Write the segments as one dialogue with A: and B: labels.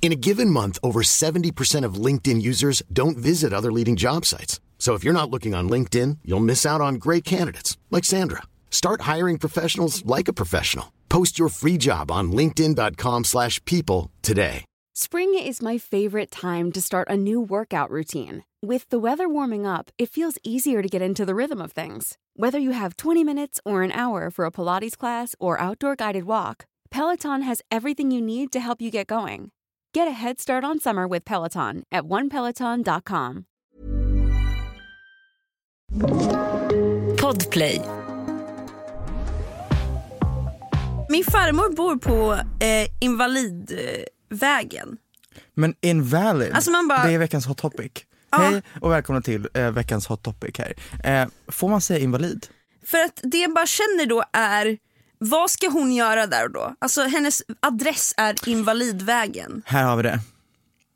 A: In a given month, over 70% of LinkedIn users don't visit other leading job sites. So if you're not looking on LinkedIn, you'll miss out on great candidates like Sandra. Start hiring professionals like a professional. Post your free job on linkedin.com/people slash people today.
B: Spring is my favorite time to start a new workout routine. With the weather warming up, it feels easier to get into the rhythm of things. Whether you have 20 minutes or an hour for a Pilates class or outdoor guided walk, Peloton has everything you need to help you get going. Get a head start on summer with Peloton at onepeloton.com.
C: Podplay.
D: Min farmor bor på eh, Invalidvägen.
E: Men invalid,
D: Alltså, man bara-
E: det är veckans hot topic.
D: Ja.
E: Hej och välkomna till eh, veckans hot topic här. Eh, får man säga invalid?
D: För att det jag bara känner då är, vad ska hon göra där och då? Alltså hennes adress är Invalidvägen.
E: Här har vi det.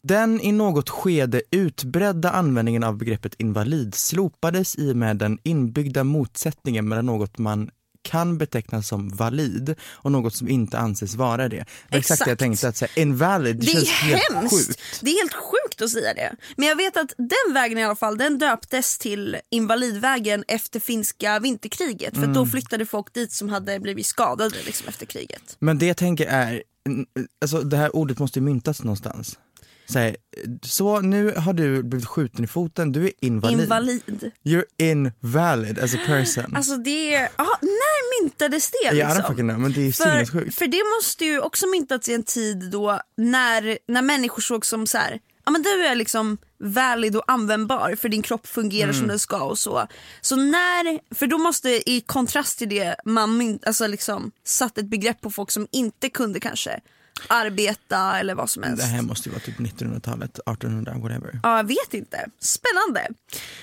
E: Den i något skede utbredda användningen av begreppet invalid slopades i och med den inbyggda motsättningen mellan något man kan betecknas som valid och något som inte anses vara det. Exakt, exakt det jag
D: Exakt.
E: tänkte, att säga invalid, det,
D: Det är
E: känns helt
D: hemskt.
E: sjukt.
D: Det är helt sjukt att säga det. Men jag vet att den vägen i alla fall, den döptes till Invalidvägen efter finska vinterkriget. För att
E: Mm.
D: då flyttade folk dit som hade blivit skadade liksom, efter kriget.
E: Men det jag tänker är, n- alltså det här ordet måste ju myntas någonstans. Så, här, så nu har du blivit skjuten i foten, du är invalid.
D: Invalid.
E: You're invalid as a person.
D: Alltså det är, aha, när myntades det? Liksom?
E: I don't fucking know, men Mm. det är ju
D: för,
E: sinnessjukt.
D: för det måste ju också myntats i en tid då när, när människor såg som så här, ja men du är liksom valid och användbar för din kropp fungerar
E: Mm.
D: som den ska och så. Så när, för då måste i kontrast till det man mynt, alltså liksom satt ett begrepp på folk som inte kunde kanske arbeta eller vad som
E: Det
D: helst.
E: här måste ju vara typ 1900-talet, 1800, whatever.
D: Ja, jag vet inte. Spännande.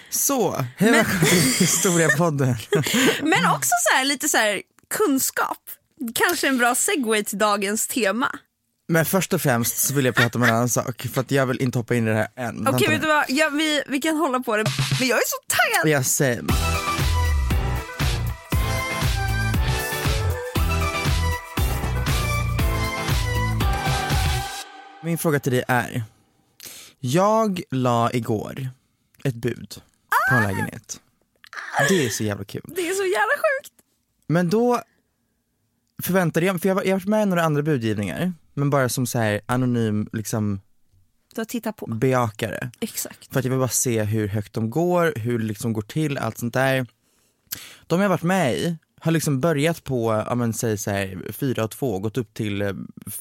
E: Så, hej välkomna till Historia-podden.
D: Men också så här, lite så här kunskap. Kanske en bra segway till dagens tema.
E: Men först och främst så vill jag prata om en annan sak, för att jag vill inte hoppa in i det här än.
D: Okej
E: Vänta
D: vet
E: nu.
D: du vad, ja, vi, vi kan hålla på det. Men jag är så taggad!
E: Ja, same. Min fråga till dig är, jag la igår ett bud på en lägenhet. Det är så jävla kul.
D: Det är så jävla sjukt.
E: Men då förväntade jag mig, för jag var- jag har varit med i några andra budgivningar, men bara som så här anonym liksom
D: Du har tittat
E: Mm.
D: på.
E: bejakare.
D: Exakt.
E: För att jag vill bara se hur högt de går, hur det liksom går till, allt sånt där. De jag varit med i har liksom börjat på, ja men säg såhär 4 och 2 gått upp till eh,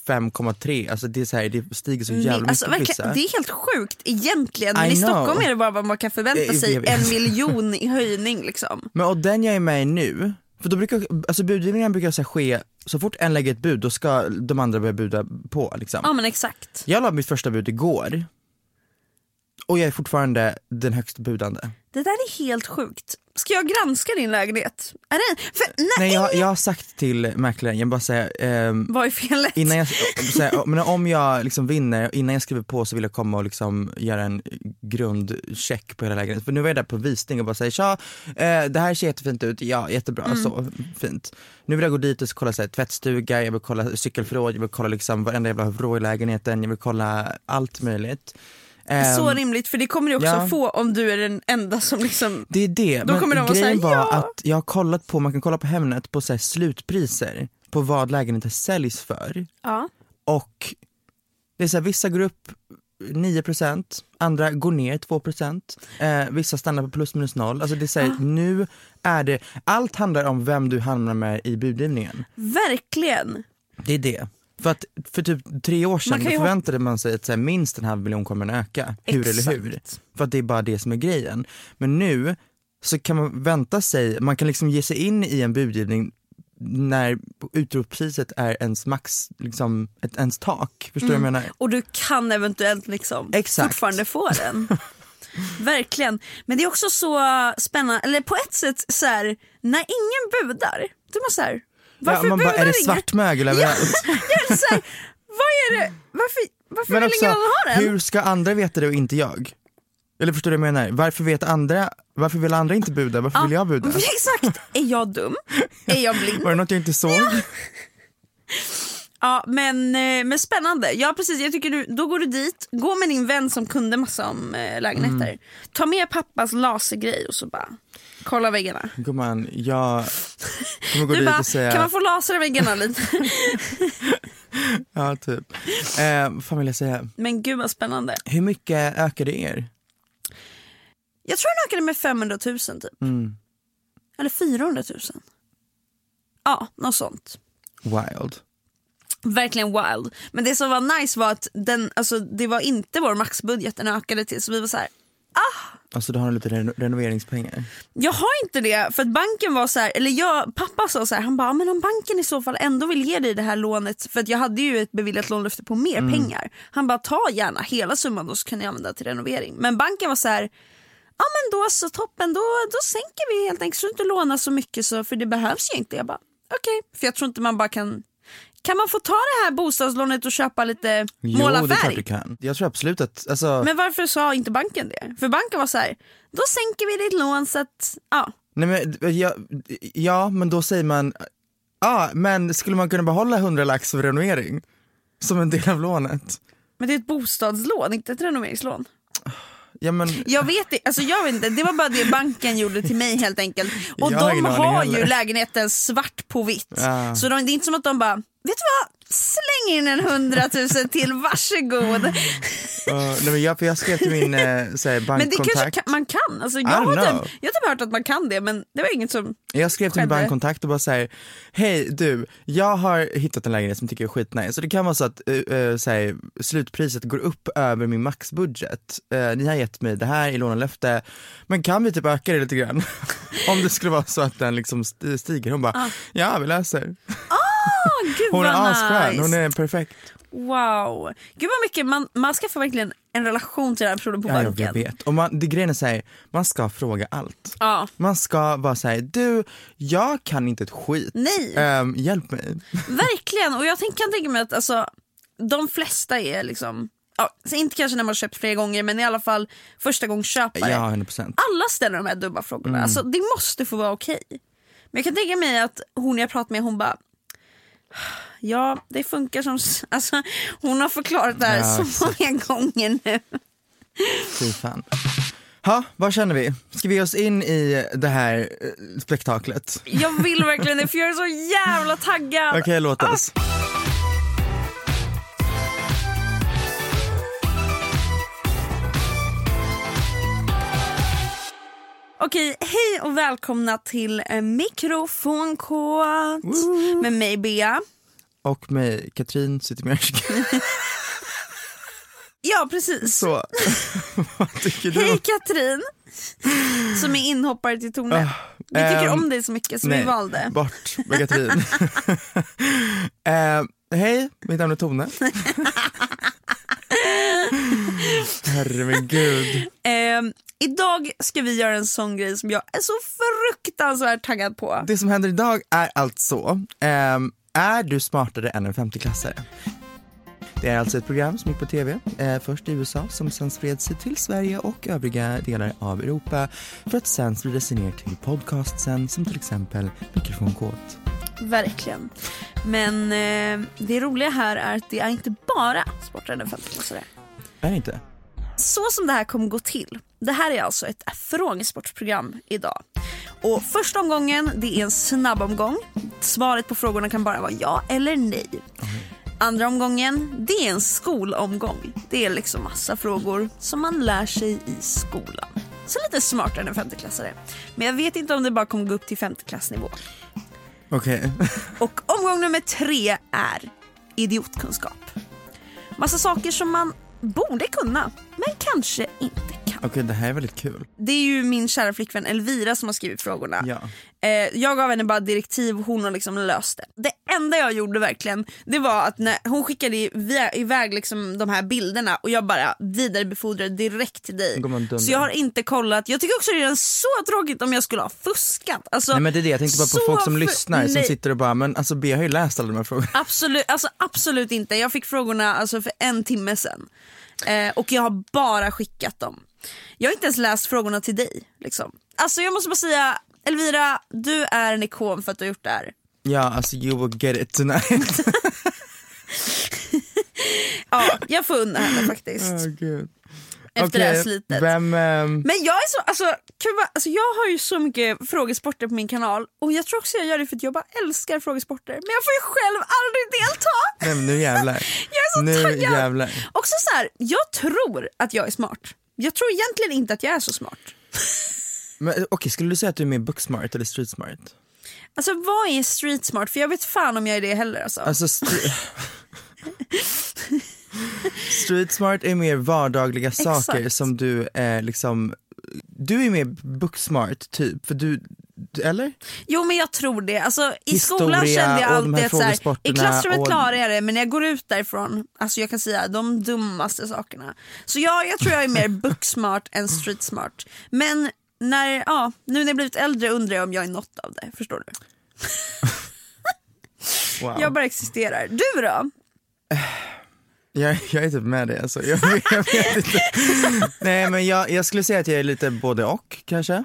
E: 5,3, alltså det är så här, det stiger så jävla mycket
D: Alltså,
E: på
D: verkligen,
E: vissa.
D: det är helt sjukt egentligen men
E: I
D: i
E: know.
D: Stockholm är det bara vad man kan förvänta
E: Jag
D: sig,
E: vet.
D: en miljon i höjning liksom.
E: Men och den jag är med i nu, för då brukar, alltså budgivningen brukar så här ske, så fort en lägger ett bud då ska de andra börja buda på liksom.
D: Ja men exakt.
E: Jag la mitt första bud igår och jag är fortfarande den högst budande.
D: Det där är helt sjukt. Ska jag granska din lägenhet? Är det, för, nej,
E: Nej jag, jag har sagt till mäklaren, jag bara säger ehm,
D: Vad är felet?
E: Innan jag, så här, men om jag liksom vinner, innan jag skriver på så vill jag komma och liksom göra en grundcheck på hela lägenheten. För nu var jag där på visning och bara säger tja, eh, det här ser jättefint ut, ja jättebra,
D: Mm.
E: så fint. Nu vill jag gå dit och kolla så här, tvättstuga, jag vill kolla cykelförråd, jag vill kolla liksom varenda jävla vrå i lägenheten, jag vill kolla allt möjligt. Ehm,
D: Så rimligt för det kommer du också
E: ja.
D: få om du är den enda som liksom
E: Det är det,
D: Då kommer de
E: men
D: vara
E: grejen
D: så
E: var
D: här, "Ja."
E: att jag har kollat på, man kan kolla på Hemnet på så här, slutpriser på vad lägenheter säljs för.
D: Ja.
E: Och det är så här, vissa går upp 9%, andra går ner 2%, eh, vissa stannar på plus minus noll. Alltså det är så här, nu är det, allt handlar om vem du hamnar med i budgivningen.
D: Verkligen.
E: Det är det. För att för typ tre år sedan
D: Man kan ju
E: då förväntade man sig att så här, minst en halv miljon kommer att öka. Hur eller hur?
D: Exakt.
E: För att det är bara det som är grejen. Men nu så kan man vänta sig, man kan liksom ge sig in i en budgivning när utropspriset är ens max, liksom, ett, ens tak. Förstår du vad jag menar?
D: Och du kan eventuellt liksom
E: Exakt.
D: fortfarande få den. Verkligen. Men det är också så spännande, eller på ett sätt så här, när ingen budar, då är man så här, varför
E: ja, man bara,
D: budar
E: är det
D: ingen?
E: svart mögel överallt?
D: Jag är så här, vad är det, varför, varför
E: Men
D: vill
E: också,
D: ingen annan ha den?
E: hur ska andra veta det och inte jag? Eller förstår du vad jag menar? Varför vet andra, varför vill andra inte buda? Varför vill jag buda?
D: Exakt, är jag dum? Är jag blind?
E: Var det något jag inte såg?
D: Ja, men, eh, men spännande. Ja, precis. Jag tycker du, då går du dit, gå med din vän som kunde massa om eh, lägenheter.
E: Mm.
D: Ta med pappas lasergrej och så bara kolla väggarna.
E: Gumman, jag kommer gå
D: Du
E: dit
D: bara,
E: och säga,
D: kan man få lasra väggarna lite?
E: ja typ. Eh, vad fan vill jag säga?
D: men gud vad spännande.
E: Hur mycket ökade er?
D: Jag tror den ökade med 500 000 typ.
E: Mm.
D: Eller 400 000. Ja, något sånt.
E: Wild.
D: Verkligen wild. Men det som var nice var att den, alltså, det var inte vår maxbudget den ökade till. Så vi var så här,
E: Alltså du har lite reno- renoveringspengar.
D: Jag har inte det, för att banken var så här, eller jag, pappa sa så här, han bara, men om banken i så fall ändå vill ge dig det här lånet, för att jag hade ju ett beviljat lånelöfte på mer
E: Mm.
D: pengar. Han bara, ta gärna hela summan då så kan jag använda till renovering. Men banken var så här, ja men då så toppen, då, då sänker vi helt enkelt, så du inte låna så mycket så, för det behövs ju inte. Jag bara, okej, för jag tror inte man bara kan, kan man få ta det här bostadslånet och köpa lite, måla
E: Jo det är klart
D: färg?
E: du kan. Jag tror absolut att, alltså,
D: Men varför sa inte banken det? För banken var så här, då sänker vi ditt lån så att, ja.
E: nej men, ja, ja men då säger man, ja men skulle man kunna behålla 100 lax för renovering? Som en del av lånet?
D: Men det är ett bostadslån, inte ett renoveringslån.
E: Ja men
D: Jag vet, det- alltså jag vet inte, det var bara det banken gjorde till mig helt enkelt. Och
E: Jag har
D: de
E: ingen aning
D: har ju
E: heller.
D: lägenheten svart på vitt.
E: Ja.
D: Så de, det är inte som att de bara, vet du vad, släng in en hundratusen till, varsågod.
E: Uh, nej men jag, för jag skrev till min eh, såhär,
D: Men det
E: bankkontakt,
D: kanske kan, man kan, alltså jag,
E: I don't
D: har
E: know.
D: typ, jag har typ hört att man kan det men det var inget som,
E: jag skrev till min
D: skedde.
E: bankkontakt och bara såhär, hej du, jag har hittat en lägenhet som tycker jag är skitnice så det kan vara så att eh, eh, såhär, slutpriset går upp över min maxbudget. Eh, ni har gett mig det här i lånelöfte, men kan vi typ öka det lite grann? Om det skulle vara så att den liksom st- stiger. Hon bara, ja vi löser. Ah,
D: åh gud
E: Hon är
D: Ah. vad
E: asskön,
D: nice.
E: hon är perfekt.
D: Wow. Gud vad mycket, man, man ska få verkligen en relation till den här personen på
E: Ja, jag
D: banken.
E: vet. Och man, det grejen är såhär, man ska fråga allt.
D: Ja.
E: Man ska vara såhär, du, jag kan inte ett skit.
D: Nej.
E: Ehm, hjälp mig.
D: Verkligen, och jag tänk, kan tänka mig att alltså, de flesta är liksom, ja, så inte kanske när man har köpt flera gånger men i alla fall första gång köpare.
E: Ja, Mm. 100 procent.
D: Alla ställer de här dumma frågorna, alltså, det måste få vara okej. Men jag kan tänka mig att hon jag pratat med hon bara Ja, det funkar som... s- Alltså, hon har förklarat det här
E: Ja,
D: så många gånger nu.
E: Fy fan. Ha, vad känner vi? Ska vi ge oss in i det här eh, spektaklet?
D: Jag vill verkligen det, för jag är så jävla taggad.
E: Okej, låt oss.
D: Okej, hej och välkomna till eh, Mikrofonkåt med mig Bea.
E: Och med Katrin Zytomierska.
D: Ja, precis.
E: Så, vad tycker du?
D: Hej
E: om-
D: Katrin, som är inhoppare till Torne. vi tycker
E: ehm,
D: om dig så mycket så vi
E: Nej,
D: valde.
E: bort med Katrin. Ehm, hej, mitt namn är Tone. Herre min gud.
D: Ehm, idag ska vi göra en sån grej som jag är så fruktansvärt taggad på.
E: Det som händer idag är alltså, ehm, är du smartare än en 50-klassare? Det är alltså ett program som gick på tv, eh, först i USA som sen spred sig till Sverige och övriga delar av Europa för att sen sprida sig ner till podcastsen som till exempel Mikrofonkåt.
D: Verkligen. Men eh, det roliga här är att det är inte bara sportare än 50
E: Är det inte?
D: Så som det här kommer gå till. Det här är alltså ett frågesportprogram idag. Och första omgången det är en snabb omgång. Svaret på frågorna kan bara vara ja eller nej. Andra omgången det är en skolomgång. Det är liksom massa frågor som man lär sig i skolan. Så lite smartare än en femteklassare. Men jag vet inte om det bara kommer gå upp till femteklassnivå.
E: Okej.
D: Och omgång nummer tre är idiotkunskap. Massa saker som man borde kunna, men kanske inte kan.
E: Okej det här är väldigt kul.
D: Det är ju min kära flickvän Elvira som har skrivit frågorna.
E: Ja.
D: Eh, jag gav henne bara direktiv och hon har liksom löst det. Det enda jag gjorde verkligen det var att när hon skickade i- via- iväg liksom de här bilderna och jag bara vidarebefordrade direkt till dig.
E: Går man dunder.
D: Så jag har inte kollat. Jag tycker också det är så tråkigt om jag skulle ha fuskat. Alltså,
E: Nej men det är det, jag tänkte bara på
D: så
E: folk som
D: för-
E: lyssnar som
D: nej.
E: sitter och bara, men alltså B har ju läst alla de här frågorna.
D: Absolut, alltså, absolut inte. Jag fick frågorna alltså, för en timme sedan eh, och jag har bara skickat dem. Jag har inte ens läst frågorna till dig. Liksom. Alltså, jag måste bara säga, Elvira, du är en ikon för att du har gjort det här.
E: Ja alltså you will get it tonight.
D: Ja, jag får unna henne faktiskt.
E: Åh, gud.
D: Efter det här
E: Mm, Okej,
D: slitet.
E: Vem, ehm,
D: Men jag är så, alltså, kan jag, bara, alltså, jag har ju så mycket frågesporter på min kanal och jag tror också jag gör det för att jag bara älskar frågesporter men jag får ju själv aldrig delta.
E: nej, men nu jävlar.
D: Jag är så
E: nu
D: taggad.
E: jävlar.
D: Också så här, jag tror att jag är smart. Jag tror egentligen inte att jag är så smart.
E: Men okej, skulle du säga att du är mer book smart eller street smart?
D: Alltså vad är street smart? För jag vet fan om jag är det heller alltså.
E: Alltså stre- street smart är mer vardagliga saker
D: Exakt.
E: som du eh, liksom, du är mer book smart typ, för du, du- eller?
D: Jo men jag tror det. Alltså, I skolan
E: Historia
D: kände jag
E: och de här
D: alltid att så här, i
E: frågesporterna
D: klassrummet
E: och-
D: klarar jag det men när jag går ut därifrån, alltså jag kan säga de dummaste sakerna. Så jag, jag tror jag är mer book smart än street smart. Men när, ja, nu när jag blivit äldre undrar jag om jag är något av det. Förstår du?
E: Wow.
D: Jag bara existerar. Du då?
E: Jag, jag är typ med dig alltså. Jag, jag vet inte. Nej men jag, jag skulle säga att jag är lite både och kanske.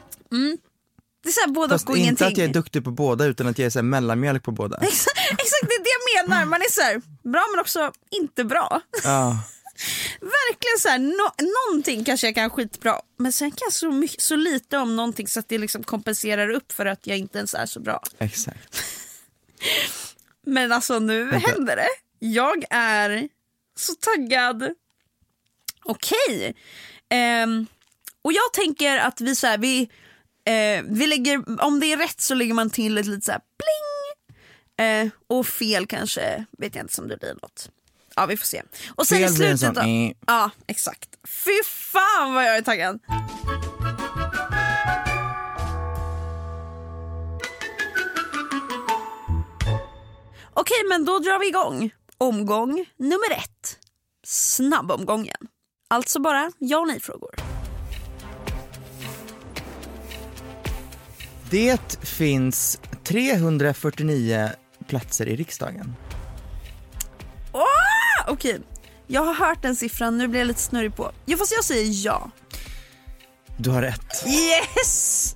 D: Det är såhär både
E: Fast
D: och och
E: inte
D: ingenting.
E: att jag är duktig på båda utan att jag är så här mellanmjölk på båda.
D: Exakt det är det jag menar. Man är såhär bra men också inte bra.
E: Ja.
D: verkligen så här, no, någonting kanske jag kan skitbra men sen kan jag så, mycket, så lite om någonting så att det liksom kompenserar upp för att jag inte ens är så bra.
E: Exakt.
D: Men alltså nu händer det. Jag är så taggad. Okej. Ehm, och jag tänker att vi så här, vi, eh, vi lägger, om det är rätt så lägger man till ett litet så här pling. Eh, och fel kanske, vet jag inte som det blir något. Ja vi får se. Och sen i
E: Fel blir en
D: slutet
E: sån,
D: då.
E: eh.
D: Ja exakt. Fy fan vad jag är taggad. Okej, men då drar vi igång. Omgång nummer ett. Snabbomgången. Alltså bara ja och nej-frågor.
E: Det finns 349 platser i riksdagen.
D: Åh! Okej, jag har hört den siffran. Nu blir jag lite snurrig på. Jo, fast jag säger ja.
E: Du har rätt.
D: Yes!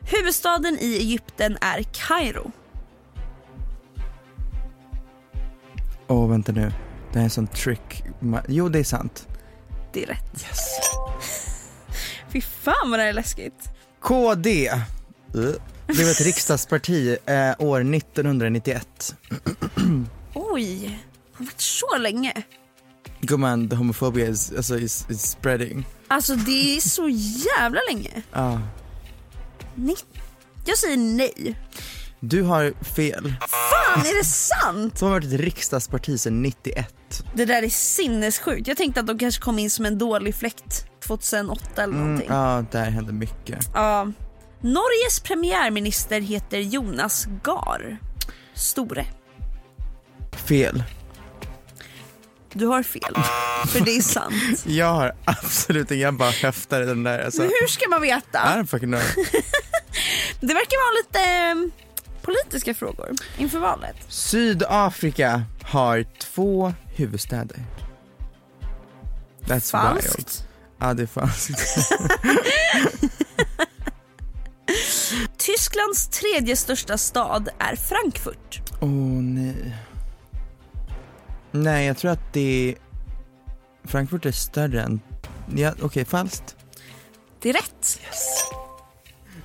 D: Huvudstaden i Egypten är Kairo.
E: Åh vänta nu. Det här är en sån trick. ma- Jo det är sant.
D: Det är rätt. Yes. Fy fan vad det här är läskigt.
E: KD eh, blev ett riksdagsparti eh, år 1991.
D: Oj, det har varit så länge.
E: Gumman, the homophobia is, alltså, is, is spreading.
D: Alltså det är så jävla länge.
E: Ja.
D: Nej. Jag säger nej.
E: Du har fel.
D: Fan är det sant?
E: Som har varit ett riksdagsparti sedan 91.
D: Det där är sinnessjukt. Jag tänkte att de kanske kom in som en dålig fläkt 2008 eller någonting.
E: Mm, Ja, där hände mycket.
D: Ja. Norges premiärminister heter Jonas Gahr Store.
E: Fel.
D: Du har fel, för det är sant.
E: Jag har absolut inga, jag bara höftar i den där. Alltså.
D: Men hur ska man veta?
E: I'm fucking know.
D: Det verkar vara lite eh, politiska frågor inför valet.
E: Sydafrika har två huvudstäder. That's wild.
D: Falskt.
E: Ja, det är falskt.
D: Tysklands tredje största stad är Frankfurt.
E: Åh oh, nej. Nej, jag tror att det är... Frankfurt är större än... Ja, Okej, falskt.
D: Det är rätt.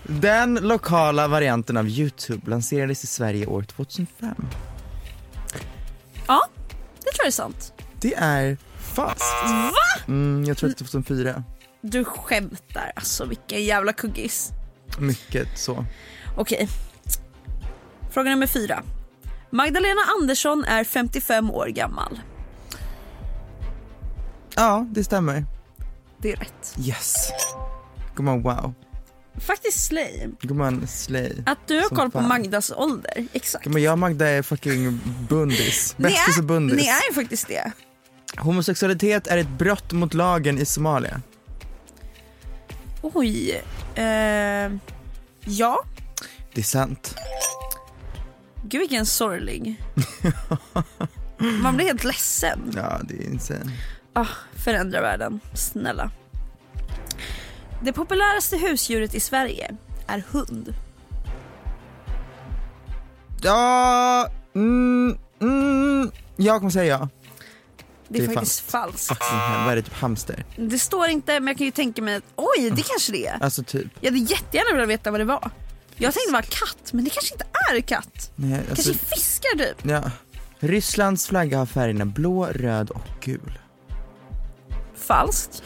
E: Den lokala varianten av Youtube lanserades i Sverige år 2005.
D: Ja, det tror jag är sant.
E: Det är falskt. Va? Mm, jag tror att det är 2004.
D: Du skämtar. Alltså vilken jävla kuggis.
E: Mycket så.
D: Okej. Fråga nummer fyra. Magdalena Andersson är 55 år gammal.
E: Ja, det stämmer.
D: Det är rätt.
E: Yes. Gumman wow.
D: Faktiskt slay.
E: Gumman slay.
D: Att du har
E: Som
D: koll på
E: fan.
D: Magdas ålder. Exakt.
E: Gumman jag och Magda är fucking bundis.
D: Ni
E: Bästis och
D: är, ni
E: bundis.
D: är ju faktiskt det.
E: Homosexualitet är ett brott mot lagen i Somalia.
D: Oj. Eh, ja.
E: Det är sant.
D: Gud vilken sorglig. Man blir helt ledsen.
E: Ja, det är insane.
D: Ah, förändra världen, snälla. Det populäraste husdjuret i Sverige är hund.
E: Ja, mm, mm, jag kommer säga ja.
D: Det är, faktiskt falskt.
E: Fucking hell, vad är det? Typ hamster?
D: Det står inte men jag kan ju tänka mig att oj det kanske det är.
E: Alltså typ.
D: Jag hade jättegärna velat veta vad det var. Jag tänkte det var katt men det kanske inte är katt.
E: Nej, alltså,
D: Kanske fiskar typ.
E: ja. Rysslands flagga har färgerna blå, röd och gul.
D: Falskt.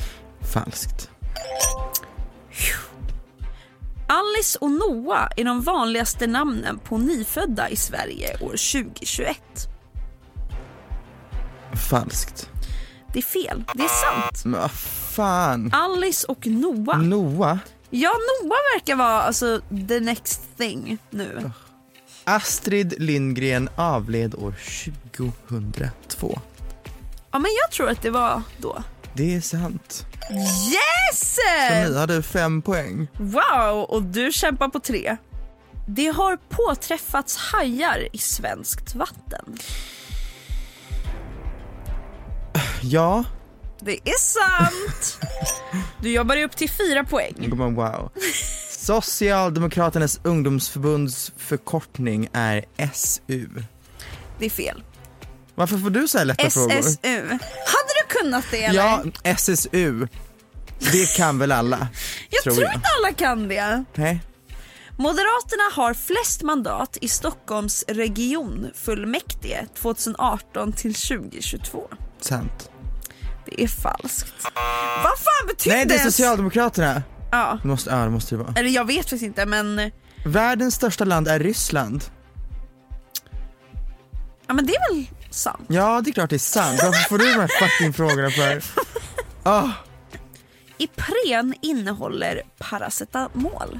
E: Falskt.
D: Alice och Noah är de vanligaste namnen på nyfödda i Sverige år 2021.
E: Falskt.
D: Det är fel, det är sant.
E: Men vad fan.
D: Alice och Noah.
E: Noah?
D: Ja, Noah verkar vara alltså the next thing nu.
E: Astrid Lindgren avled år 2002.
D: Ja, men jag tror att det var då.
E: Det är sant.
D: Yes!
E: Så ni hade fem poäng.
D: Wow, och du kämpar på tre. Det har påträffats hajar i svenskt vatten.
E: Ja,
D: Det är sant! Du jobbar dig upp till fyra poäng.
E: Kommer man, wow. Socialdemokraternas ungdomsförbunds förkortning är SU.
D: Det är fel.
E: Varför får du så här lätta frågor?
D: SSU. Hade du kunnat det eller?
E: Ja, SSU. Det kan väl alla?
D: jag tror,
E: tror jag.
D: inte alla kan det.
E: Nej.
D: Moderaterna har flest mandat i Stockholms regionfullmäktige 2018 till 2022.
E: Sant.
D: Det är falskt. Vad fan betyder
E: Nej, det är
D: ens-
E: Socialdemokraterna.
D: Ja.
E: Det måste, ja, det måste det vara.
D: Eller jag vet faktiskt inte men,
E: Världens största land är Ryssland.
D: ja, men det är väl sant.
E: Ja, det är klart det är sant. Varför får du de här fucking frågorna för? Ah,
D: Ipren innehåller paracetamol.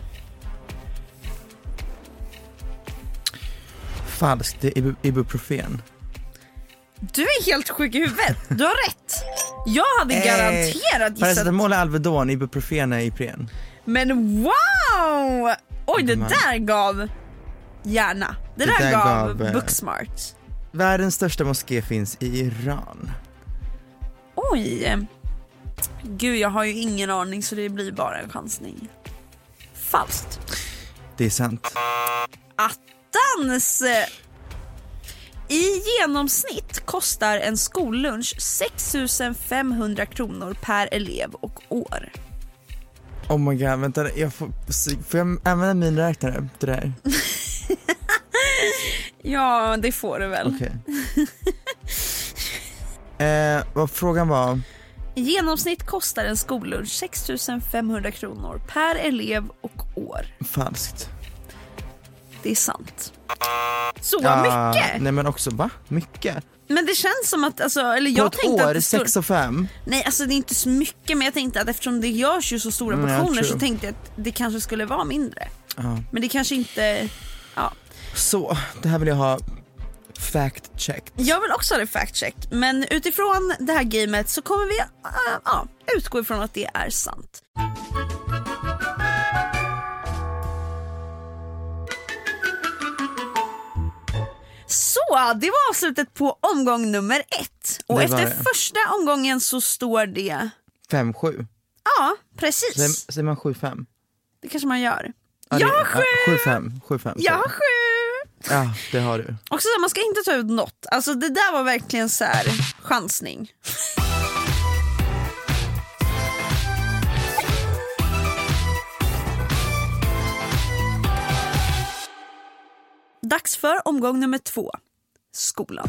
E: falskt. Det är Ibu- ibuprofen.
D: Du är helt sjuk i huvudet. Du har rätt. Jag hade
E: Eh,
D: garanterat gissat.
E: Paracetamol är Alvedon, ibuprofen är Ipren.
D: Men wow! Oj det
E: Man.
D: där gav hjärna. Det, där,
E: där
D: gav,
E: gav, eh,
D: booksmart.
E: Världens största moské finns i Iran.
D: Oj. Gud jag har ju ingen aning så det blir bara en chansning. Falskt.
E: Det är sant.
D: Attans! eh, I genomsnitt kostar en skollunch 6500 kronor per elev och år.
E: Oh my god, vänta. Jag får, får jag använda min räknare till det här?
D: Ja, det får du väl.
E: Okej. eh, vad frågan var?
D: I genomsnitt kostar en skollunch 6500 kronor per elev och år.
E: Falskt.
D: Det är sant. Så
E: Ah,
D: mycket!
E: Nej men också, va? Mycket?
D: Men det känns som att, alltså, eller
E: På
D: jag
E: ett
D: tänkte att
E: år,
D: det står...
E: sex och fem.
D: Nej alltså det är inte så mycket men jag tänkte att eftersom det görs ju så stora
E: Mm, ja,
D: portioner så
E: true.
D: tänkte jag att det kanske skulle vara mindre.
E: Ja.
D: Men det kanske inte, ja.
E: Så, det här vill jag ha fact checked.
D: Jag vill också ha det fact check men utifrån det här gamet så kommer vi äh, ja, utgå ifrån att det är sant. Så det var avslutet på omgång nummer ett och
E: Det var
D: efter
E: det.
D: första omgången så står det
E: Fem, sju.
D: Ja, precis.
E: Säger, säger man sju, fem?
D: Det kanske man gör.
E: Ja,
D: jag
E: det-
D: har
E: ja,
D: sju!
E: Sju, fem. Sju, fem
D: Jag
E: säger
D: har sju!
E: jag. Ja, det har du.
D: Också så här, man ska inte ta ut något. Alltså det där var verkligen så här chansning. Dags för omgång nummer två. Skolan.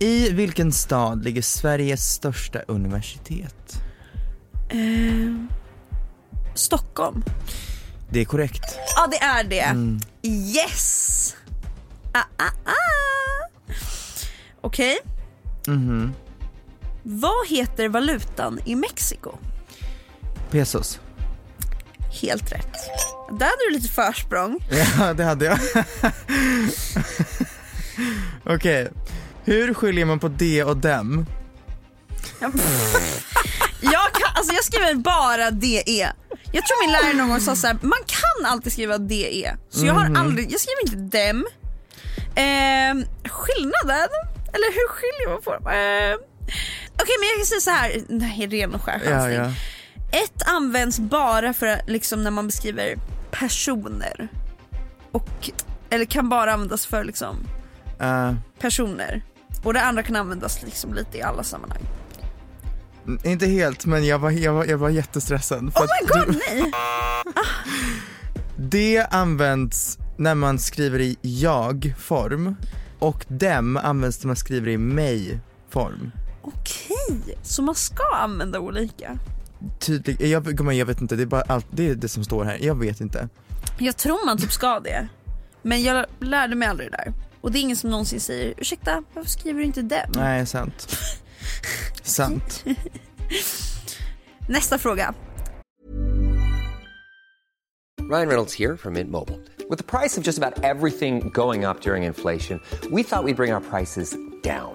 E: I vilken stad ligger Sveriges största universitet?
D: Stockholm.
E: Det är korrekt.
D: Ja, det är det. Yes! Ah, ah, ah. Okej. Vad heter valutan i Mexiko?
E: Pesos.
D: Helt rätt. Där hade du lite försprång.
E: Ja, det hade jag. Okej. Hur skiljer man på de och dem?
D: Jag, kan, alltså jag skriver bara DE. Jag tror min lärare någon gång sa så här, man kan alltid skriva DE. Så jag
E: Mhm.
D: har aldrig, jag skriver inte dem. Ehm, skillnaden, eller hur skiljer man på dem? Ehm, Okej men jag kan säga så här, det här är ren och skär
E: Ja,
D: chansning.
E: ja.
D: Ett används bara för liksom, när man beskriver personer. Och, eller kan bara användas för liksom,
E: Eh,
D: personer. Och det andra kan användas liksom, lite i alla sammanhang.
E: inte helt, men jag var, jag var, jag var jättestressad. För
D: Oh my god nej!
E: det används när man skriver i jag-form och dem används när man skriver i mig-form.
D: Okej, så man ska använda olika?
E: Tydlig, jag, gumman, jag vet inte, det är bara allt, det är det som står här. Jag vet inte.
D: Jag tror man typ ska det. Men jag lärde mig aldrig det där. Och det är ingen som någonsin säger ursäkta, varför skriver du inte dem?
E: Nej, sant. sant.
D: Nästa fråga.
F: Ryan Reynolds here from Mint Mobile. With the price of just about everything going up during inflation, we thought we'd bring our prices down.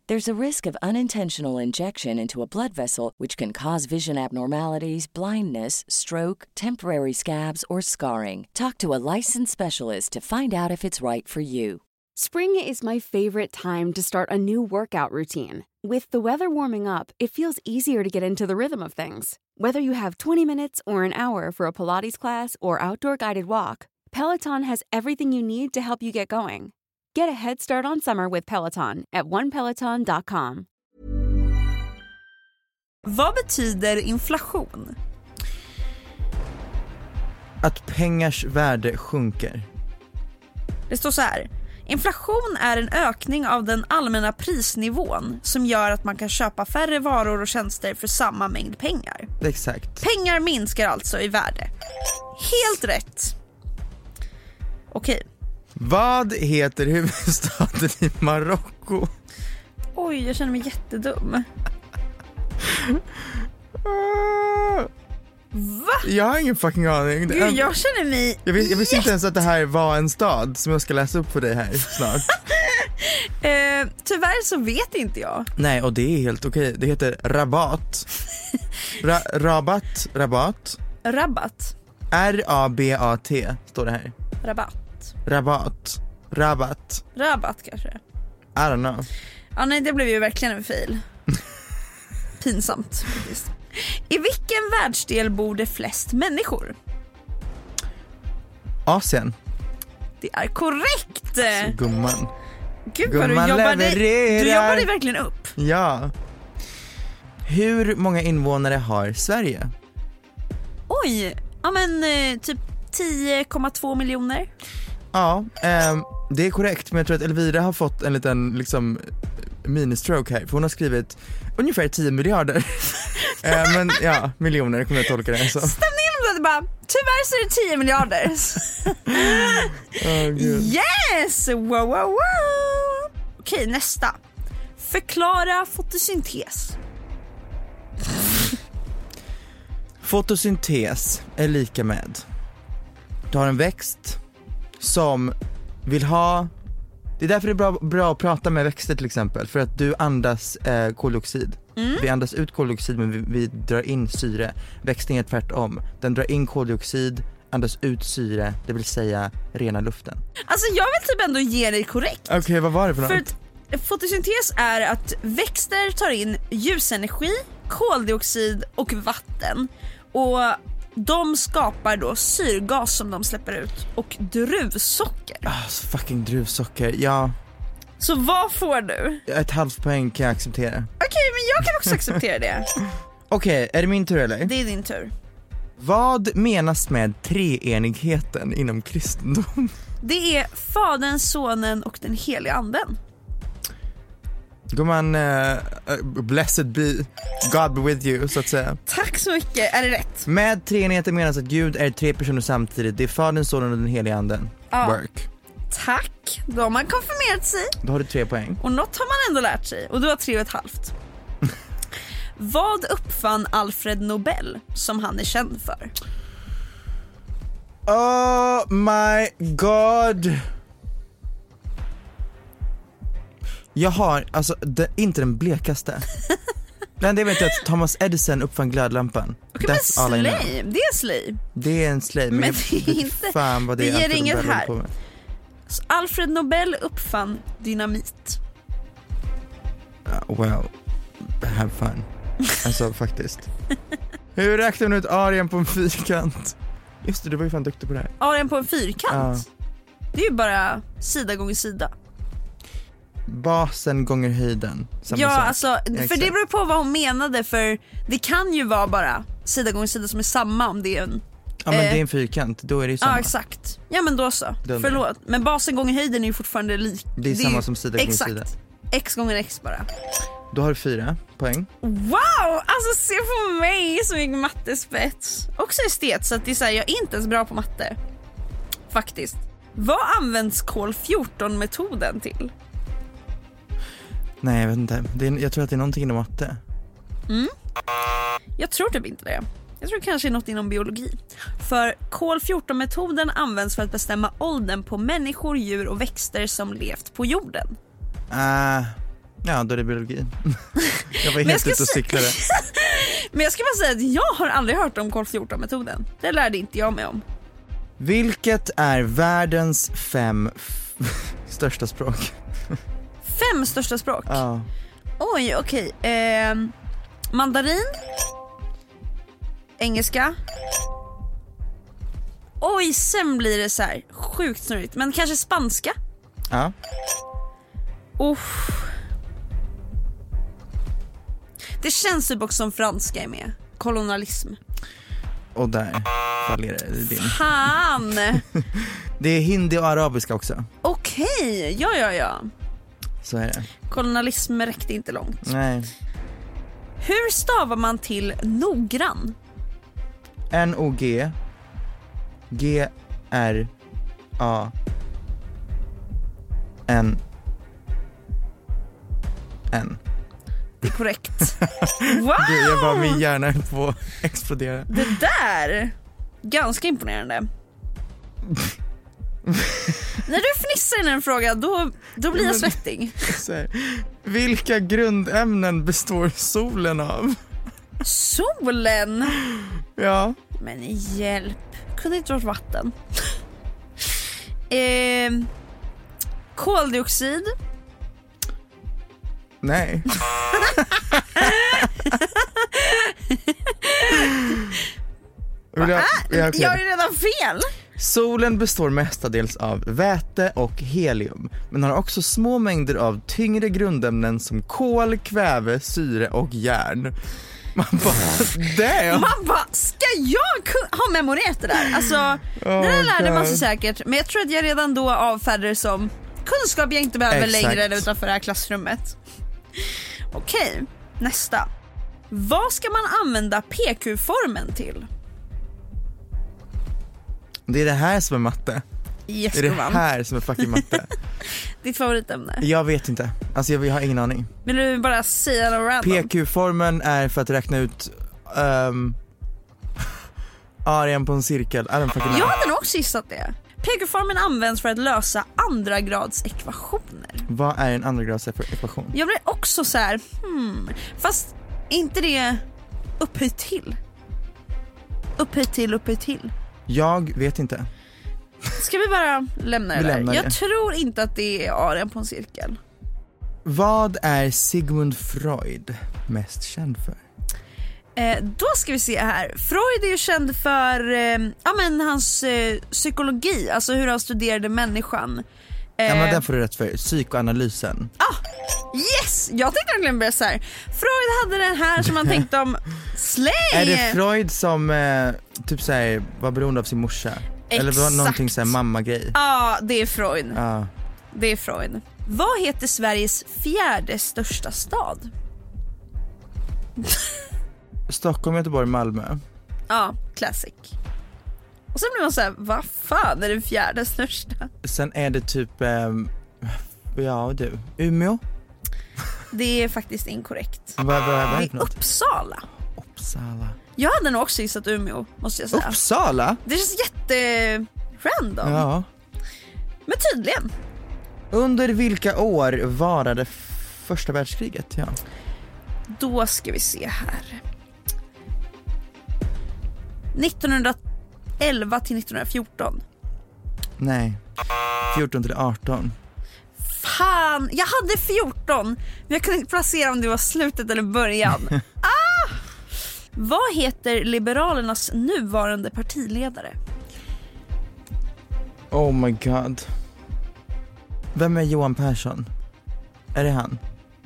G: There's a risk of unintentional injection into a blood vessel, which can cause vision abnormalities, blindness, stroke, temporary scabs, or scarring. Talk to a licensed specialist to find out if it's right for you.
B: Spring is my favorite time to start a new workout routine. With the weather warming up, it feels easier to get into the rhythm of things. Whether you have 20 minutes or an hour for a Pilates class or outdoor guided walk, Peloton has everything you need to help you get going. Get a head start on summer with Peloton at onepeloton.com.
D: Vad betyder inflation?
E: Att pengars värde sjunker.
D: Det står så här. Inflation är en ökning av den allmänna prisnivån som gör att man kan köpa färre varor och tjänster för samma mängd pengar.
E: Exakt.
D: Pengar minskar alltså i värde. Helt rätt. Okej.
E: Vad heter huvudstaden i Marocko?
D: Oj, jag känner mig jättedum.
E: Ah,
D: Va?
E: Jag har ingen fucking aning. Det-
D: Gud, jag känner mig...
E: jag, vis, jag visste inte ens att det här var en stad som jag ska läsa upp för dig här snart.
D: Eh, tyvärr så vet inte jag.
E: Nej, och det är helt okej. Det heter Rabat. Ra, rabat, Rabat.
D: Rabatt.
E: R-A-B-A-T står det här.
D: Rabatt.
E: Rabat. Rabat.
D: Rabatt kanske.
E: I don't know.
D: Ja, nej, det blev ju verkligen en fail. Pinsamt faktiskt. I vilken världsdel bor det flest människor?
E: Asien.
D: Det är korrekt!
E: Gumman.
D: Gud vad du
E: gumman
D: jobbade, du
E: levererar.
D: jobbade verkligen upp.
E: Ja. Hur många invånare har Sverige?
D: Oj, ja men eh, typ 10,2 miljoner.
E: Ja, ehm, det är korrekt men jag tror att Elvira har fått en liten liksom ministroke här för hon har skrivit ungefär 10 miljarder. Eh, men ja, miljoner kommer jag tolka det här som.
D: Stämningen blev bara, tyvärr så är det 10 miljarder.
E: Åh, gud.
D: Yes! Wow, wow, wow! Okej, nästa. Förklara fotosyntes.
E: Fotosyntes är lika med, du har en växt som vill ha, det är därför det är bra, bra att prata med växter till exempel, för att du andas eh, koldioxid. Vi andas ut koldioxid men vi, vi drar in syre. Växten är tvärtom, den drar in koldioxid, andas ut syre, det vill säga rena luften.
D: Alltså jag vill typ ändå ge dig korrekt.
E: Okej vad var det för något?
D: För att fotosyntes är att växter tar in ljusenergi, koldioxid och vatten. Och de skapar då syrgas som de släpper ut och druvsocker.
E: Alltså, fucking druvsocker, ja
D: Så vad får du? Okej
E: ett halvt poäng kan jag acceptera.
D: men jag kan också acceptera det.
E: Okej, är det min tur eller?
D: Det är din tur.
E: Vad menas med treenigheten inom kristendom?
D: Det är Fadern, Sonen och den heliga anden.
E: Gumman, eh, eh, blessed be, God be with you så att säga.
D: Tack så mycket, är det rätt?
E: Med treenigheten menas att Gud är tre personer samtidigt, det är Fadern, Sonen och den helige Anden.
D: Ja.
E: Work.
D: Tack, då har man konfirmerat sig.
E: Då har du tre poäng.
D: Och något har man ändå lärt sig och du har tre och ett halvt. Vad uppfann Alfred Nobel som han är känd för?
E: Oh my god! Jag har, alltså, det, inte den blekaste. Men det vet jag att Thomas Edison uppfann glödlampan.
D: Okej, men slay, det är slay.
E: Det är en slay, men,
D: Men
E: jag
D: det är
E: vet
D: inte-
E: fan vad det,
D: det
E: är
D: ger
E: Alfred
D: inget
E: Nobel håller
D: här.
E: på med.
D: Så Alfred Nobel uppfann dynamit.
E: Uh, well, have fun. Alltså faktiskt. Hur räknar man ut arien på en fyrkant? Just det, du var ju fan duktig på det här.
D: Arian på en fyrkant. Det är ju bara sida gånger sida. basen
E: Basen gånger höjden. Samma
D: ja,
E: sak.
D: alltså, för det beror på vad hon menade för det kan ju vara bara sida gånger sida som är samma om det är en...
E: Ja men
D: eh,
E: det är en fyrkant, då är det ju samma.
D: Ja exakt. Ja men då så.
E: Dunder.
D: Förlåt. Men basen gånger höjden är ju fortfarande lik.
E: Det är samma som sida gånger
D: Exakt.
E: sida.
D: X gånger X bara.
E: Då har du fyra poäng.
D: Wow! Alltså se på mig som gick mattespets. Också estet så att det är så här, jag är inte ens bra på matte. Faktiskt. Vad används kol 14 metoden till?
E: Nej jag vet inte, det är, jag tror att det är någonting inom matte.
D: Jag tror typ inte det. Jag tror det kanske är något inom biologi. För kol 14 metoden används för att bestämma åldern på människor, djur och växter som levt på jorden.
E: Ah, ja då är det biologi. jag var
D: jag
E: helt
D: ska
E: ute och
D: sä-
E: cyklade.
D: Men jag ska bara säga att jag har aldrig hört om kol 14 metoden. Det lärde inte jag mig om.
E: Vilket är världens fem f- största språk?
D: Fem största språk.
E: Ja.
D: Oj, okej. Ehm, mandarin. Engelska. Oj, sen blir det så här sjukt snurrigt. Men kanske spanska?
E: Ja.
D: Uff. Det känns typ också som franska är med. Kolonialism.
E: Och där faller det. Det är din.
D: Han!
E: Det är hindi och arabiska också.
D: Okej, ja ja ja.
E: Så är det.
D: Kolonialism räckte inte långt.
E: Nej.
D: Hur stavar man till noggrann?
E: N-O-G G-R-A N N.
D: Det är korrekt. Wow!
E: Du, jag bara, min hjärna höll på att explodera.
D: Det där! Ganska imponerande. När du fnissar i den frågan då, då blir jag svettig.
E: Så här. Vilka grundämnen består solen av?
D: Solen!
E: Ja.
D: Men hjälp, kunde inte varit vatten. Ehm, koldioxid,
E: Nej. Vill jag, ja, okej.
D: Äh, jag har ju redan fel.
E: Solen består mestadels av väte och helium, men har också små mängder av tyngre grundämnen som kol, kväve, syre och järn. Man bara, damn!
D: Man bara, ska jag ku- ha memorerat det där? Alltså, det där lärde man sig
E: God.
D: säkert men jag tror att jag redan då avfärdade det som kunskap jag inte behöver
E: Exakt.
D: längre än utanför det här klassrummet. Okej, nästa. Vad ska man använda PQ-formen till?
E: Det är det här som är matte.
D: Yes,
E: Det är det
D: gumman.
E: här som är fucking matte.
D: Ditt favoritämne.
E: Jag vet inte, alltså jag, jag har ingen aning.
D: Vill du Alltså- bara säga något random?
E: PQ-formen är för att räkna ut ehm, Arian på en cirkel. I don't fucking
D: Jag
E: know.
D: hade nog också gissat det. PK-formen används för att lösa andra grads ekvationer.
E: Vad är en andragradsekvation?
D: Jag blev också så här, hmm, fast är inte det upphöjt till? Upphöjt till, upphöjt till.
E: Jag vet inte.
D: Ska vi bara lämna det
E: Vi
D: där?
E: lämnar
D: jag
E: det.
D: tror inte att det är arian på en cirkel.
E: Vad är Sigmund Freud mest känd för?
D: Eh, då ska vi se här. Freud är ju känd för eh, ja, men hans eh, psykologi, alltså hur han studerade människan. Eh,
E: Ja men den får du rätt för. Psykoanalysen.
D: Ah, Yes! Jag tänkte verkligen börja så här. Freud hade den här som han tänkte om släng!
E: Är det Freud som eh, typ såhär var beroende av sin morsa? Eller var det någonting
D: Exakt.
E: såhär mamma-grej?
D: Ja, det är Freud.
E: Ja.
D: Det är Freud. Vad heter Sveriges fjärde största stad?
E: Stockholm, Göteborg, Malmö.
D: Ja, classic. Och sen blir man så här, vad fan är den fjärde största?
E: Sen är det typ, ehm, ja du, Umeå?
D: Det är faktiskt inkorrekt.
E: Vad Mm. vad- vad är
D: Det
E: det
D: är
E: för något?
D: Uppsala.
E: Uppsala.
D: Jag hade nog också gissat Umeå, måste jag säga.
E: Uppsala?
D: Det känns jätte random.
E: Ja.
D: Men tydligen.
E: Under vilka år varade f- första världskriget? Ja.
D: Då ska vi se här. 1911 till 1914.
E: Nej. 14 till 18.
D: Fan, jag hade 14 men jag kunde inte placera om det var slutet eller början. ah! Vad heter Liberalernas nuvarande partiledare?
E: Oh my god. Vem är Johan Persson? Är det han?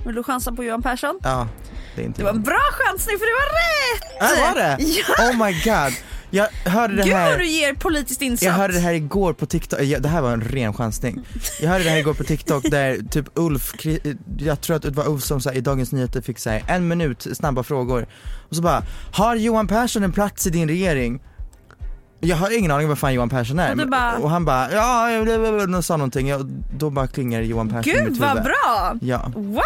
D: Vill du chansa på Johan Persson?
E: Ja, det är inte
D: Det var en
E: jag.
D: bra chansning för det var rätt!
E: Ah, var det?
D: Ja!
E: Oh my god. Jag hörde det
D: Gud
E: här.
D: vad du ger politiskt insatt.
E: Jag hörde det här igår på TikTok, Ja, det här var en ren chansning. Jag hörde det här igår på TikTok där typ Ulf, Kri- jag tror att det var Ulf som så här, i Dagens Nyheter fick säga en minut snabba frågor. Och så bara, har Johan Persson en plats i din regering? Jag har ingen aning om vad fan Johan Persson är.
D: Och du
E: Men-
D: bara-
E: och han bara, ja, jag- jag- jag- jag sa någonting, jag, då bara klingar Johan Persson i
D: Gud
E: mitt
D: vad
E: huvud.
D: bra!
E: Ja.
D: Wow!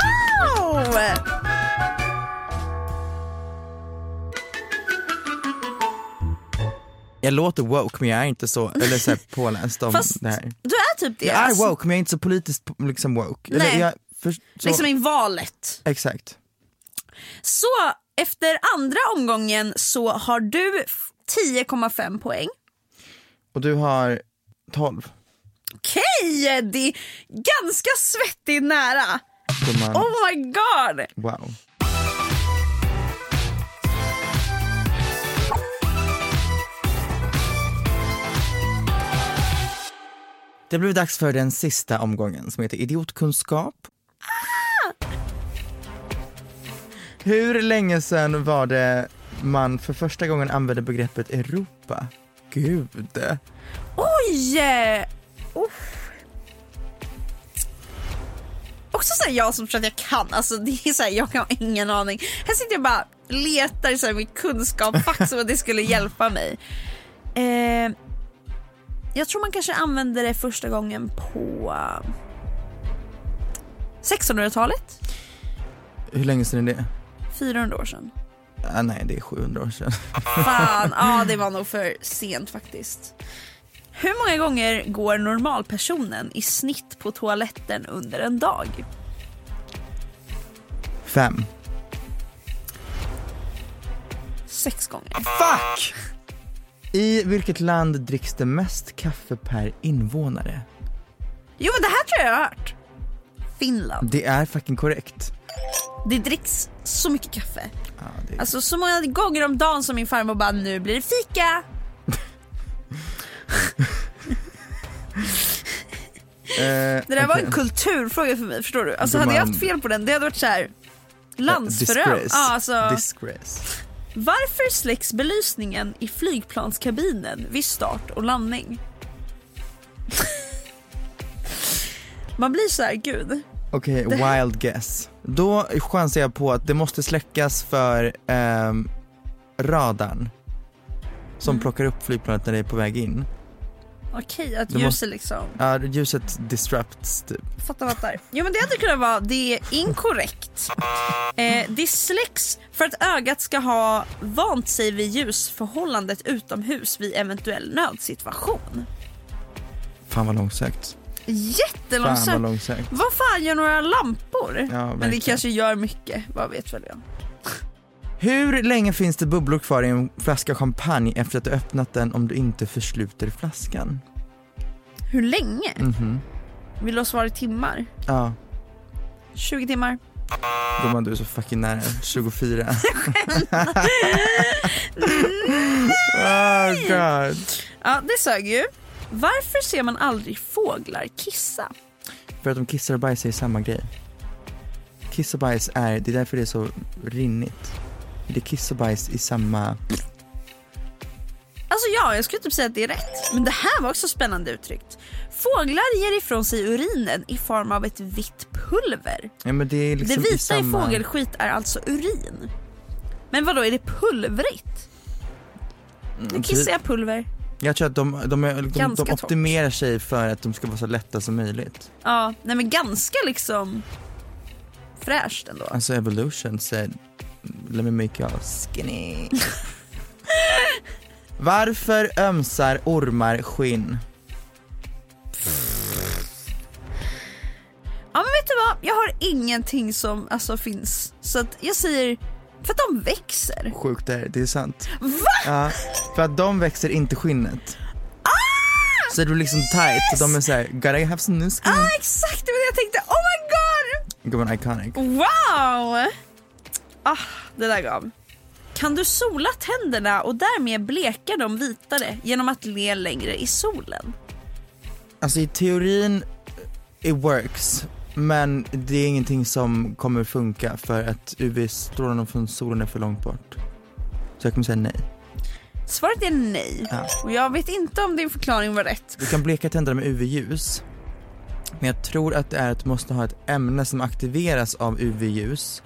E: Jag låter woke men jag är inte så, eller så här, påläst om
D: Fast
E: det här.
D: du är typ det.
E: Jag är
D: alltså.
E: woke men jag är inte så politiskt liksom woke.
D: Nej.
E: jag, för, så,
D: Liksom i valet.
E: Exakt.
D: Så efter andra omgången så har du f- 10,5 poäng.
E: Och du har 12.
D: Okej, det är ganska svettigt nära.
E: Gumman.
D: Oh my god!
E: Wow. Det blev dags för den sista omgången som heter idiotkunskap. Hur länge sedan var det man för första gången använde begreppet Europa? Gud.
D: Oj! eh, Uff. Också såhär jag som tror att jag kan, alltså det är såhär jag har ingen aning. Här sitter jag bara letar i så här min kunskap, fack som att det skulle hjälpa mig. Eh, jag tror man kanske använde det första gången på eh, 1600-talet,
E: Hur länge sedan är det?
D: 400 år sedan.
E: Ah, nej, det är 700 år sedan.
D: Fan, ja det var nog för sent faktiskt. Hur många gånger går normalpersonen i snitt på toaletten under en dag?
E: Fem.
D: Sex gånger.
E: Ah, Fuck! I vilket land dricks det mest kaffe per invånare?
D: Jo men det här tror jag jag har hört. Finland.
E: Det är fucking korrekt.
D: Det dricks så mycket kaffe.
E: Ja, Ah, det är...
D: Alltså så många gånger om dagen som min farmor bara nu blir det fika.
E: Eh,
D: Det där var en
E: okej.
D: kulturfråga för mig förstår du. Alltså hade jag
E: Gumman.
D: haft fel på den det hade varit så här landsförrädare.
E: Disgrace.
D: Ja, alltså,
E: Disgrace.
D: varför släcks belysningen i flygplanskabinen vid start och landning? Man blir så här, gud.
E: Okej, wild guess. Då chansar jag på att det måste släckas för ehm,
D: Mm.
E: radarn som plockar upp flygplanet när det är på väg in.
D: Okej, att
E: Du
D: ljuset
E: måste-
D: liksom.
E: Ja, ljuset disrupts typ.
D: Fattar, fattar. Jo men det hade kunnat vara det är inkorrekt. Eh, dislex för att ögat ska ha vant sig vid ljusförhållandet utomhus vid eventuell nödsituation.
E: Fan vad långsökt. Fan vad
D: Jättelångsamt.
E: långsökt.
D: Vad fan gör några lampor? men det
E: verkligen.
D: kanske gör mycket, vad vet väl jag.
E: Hur länge finns det bubblor kvar i en flaska champagne efter att du öppnat den om du inte försluter flaskan?
D: Hur länge?
E: Mhm.
D: Vill du ha svar i timmar?
E: Ja,
D: 20 timmar?
E: gumman du är så fucking nära. 24. oh god.
D: Ja, det sög ju. Varför ser man aldrig fåglar kissa?
E: För att de kissar och bajsar är samma grej. Kiss och bajs är, det är därför det är så rinnigt. Det är kiss och bajs i samma...
D: Alltså ja, jag skulle typ säga att det är rätt. Men det här var också spännande uttryckt. Fåglar ger ifrån sig urinen i form av ett vitt pulver.
E: Ja men det är liksom
D: det vita
E: i
D: i,
E: samma...
D: fågelskit är alltså urin. Men vad då är det pulvrigt?
E: Mm,
D: Nu
E: typ.
D: kissar jag pulver.
E: Jag tror att de, de, är, de,
D: Ganska
E: de
D: torrt.
E: optimerar sig för att de ska vara så lätta som möjligt.
D: Ja, nej men ganska liksom fräscht ändå.
E: Alltså evolution said, let me make you all skinny. Varför ömsar ormar skinn?
D: Ja men vet du vad, jag har ingenting som alltså finns. Så att jag säger, för att de växer.
E: Sjukt det här, det är sant.
D: Va?
E: Ja, för att de växer inte skinnet. Så är du liksom tight, så de är såhär, gotta have some new skin.
D: Ja Ah, exakt det var det jag tänkte, oh my god!
E: Gumman iconic.
D: Wow! Ah, det där gav. Kan du sola tänderna och därmed bleka dem vitare genom att le längre i solen?
E: Alltså i teorin, it works. Men det är ingenting som kommer funka för att UV-strålarna från solen är för långt bort. Så jag kommer säga nej.
D: Svaret är nej.
E: Ja.
D: Och jag vet inte om din förklaring var rätt.
E: Du kan bleka tänderna med UV-ljus. Men jag tror att det är att du måste ha ett ämne som aktiveras av UV-ljus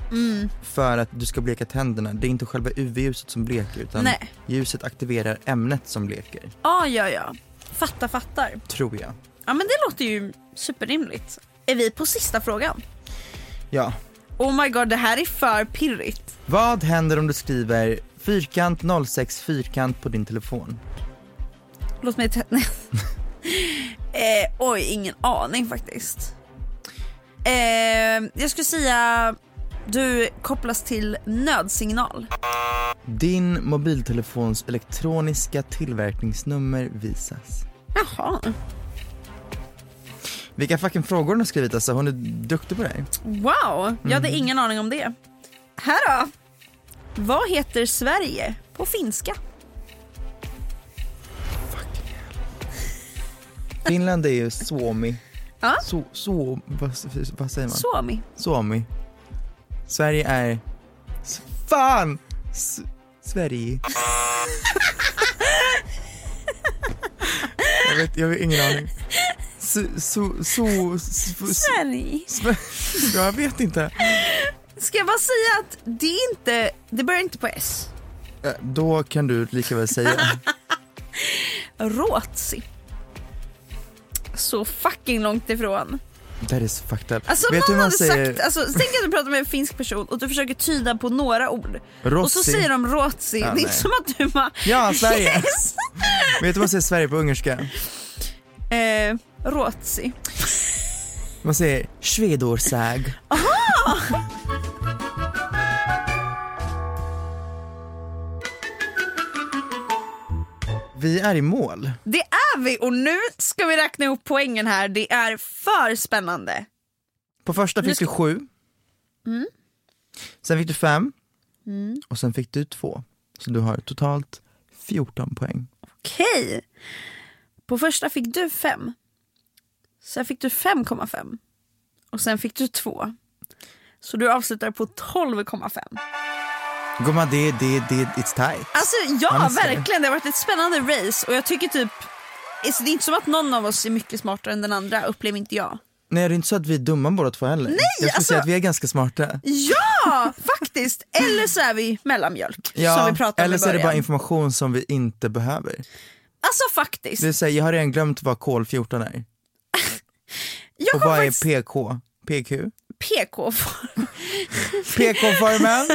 E: för att du ska bleka tänderna. Det är inte själva UV-ljuset som bleker utan
D: Nej.
E: ljuset aktiverar ämnet som bleker,
D: Ah, ja, ja. Fattar, fattar.
E: tror jag.
D: Ja men det låter ju superrimligt. Är vi på sista frågan?
E: Ja.
D: Oh my god, det här är för pirrigt.
E: Vad händer om du skriver fyrkant 06 fyrkant på din telefon?
D: Låt mig tända. eh, oj, ingen aning faktiskt. Eh, jag skulle säga du kopplas till nödsignal.
E: Din mobiltelefons elektroniska tillverkningsnummer visas.
D: Jaha.
E: Vilka fucking frågor hon har skrivit alltså, hon är duktig på det här.
D: Wow, jag hade ingen aning om det. Här då. Vad heter Sverige på finska?
E: Finland är ju Suomi.
D: Ja.
E: Så, så, vad, vad säger man?
D: Suomi.
E: Suomi. Sverige är... S- Fan! S- Sverige. jag, vet, jag har ingen aning. S- so, so, s- s-
D: Sverige.
E: s- jag vet inte.
D: Ska jag bara säga att det är inte, det börjar inte på S.
E: Eh, Då kan du lika väl säga.
D: Ruotsi. Så fucking långt ifrån.
E: That is fucked up.
D: Alltså
E: vet du
D: någon
E: hur man
D: hade
E: säger?
D: sagt, alltså, tänk att du pratar med en finsk person och du försöker tyda på några ord. Och så
E: Rotsi.
D: säger de rotsi, det är inte
E: nej.
D: som att du bara
E: Ja, Sverige.
D: Yes. Alltså-
E: Vet du vad man säger Sverige på ungerska?
D: Eh, rotsi.
E: Man säger Svedorsäg. Vi är i mål.
D: Det är vi och nu ska vi räkna ihop poängen här, det är för spännande.
E: På första fick du sju.
D: Mm.
E: Sen fick du fem. Och sen fick du två. Så du har totalt 14 poäng.
D: Okej. På första fick du fem. Sen fick du 5,5. Och sen fick du två. Så du avslutar på 12,5.
E: Gumman, det, det, det, it's tight.
D: Alltså ja,
E: Ja, men så är det.
D: verkligen. Det har varit ett spännande race och jag tycker typ alltså, det är inte som att någon av oss är mycket smartare än den andra, upplever inte jag.
E: Nej, det är inte så att vi är dumma båda två heller. Nej, jag skulle
D: alltså-
E: säga att vi är ganska smarta.
D: Ja, faktiskt! Eller så är vi mellanmjölk som vi pratade om
E: eller
D: i
E: så är
D: början.
E: det bara information som vi inte behöver.
D: Alltså faktiskt.
E: Det är så här, jag har redan glömt vad kol-14 är.
D: jag
E: Och
D: kom
E: vad
D: faktiskt
E: är PK? PQ?
D: PK för.
E: PK-formen?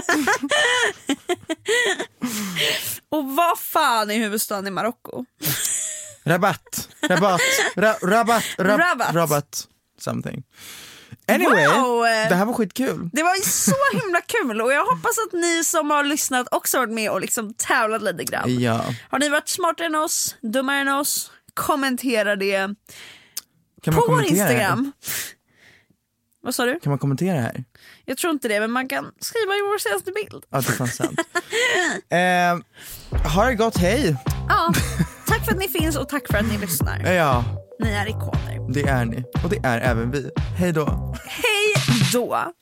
D: Och vad fan är huvudstaden i Marocko?
E: rabatt, rabatt, ra, rabatt, rab,
D: Rabatt.
E: rabatt, something. Anyway,
D: Wow, eh.
E: det här var skitkul.
D: Det var ju så himla kul och jag hoppas att ni som har lyssnat också har varit med och liksom tävlat lite grann.
E: Ja.
D: Har ni varit smartare än oss, dummare än oss? Kommentera det
E: Kan
D: på vår
E: kommentera det här?
D: Instagram. Vad sa du?
E: Kan man kommentera det här?
D: Jag tror inte det men man kan skriva i vår senaste bild.
E: Ja, det är fan sant. eh, ha det gott, hej!
D: Ja, tack för att ni finns och tack för att ni lyssnar.
E: Ja,
D: Ni är ikoner.
E: det är ni. Och det är även vi. Hej då!
D: Hej då!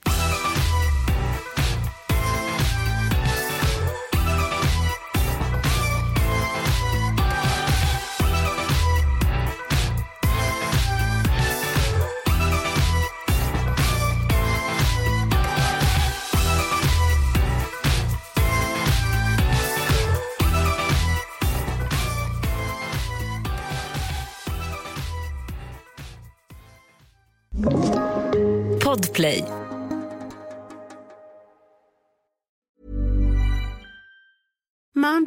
H: Podplay.
B: Mom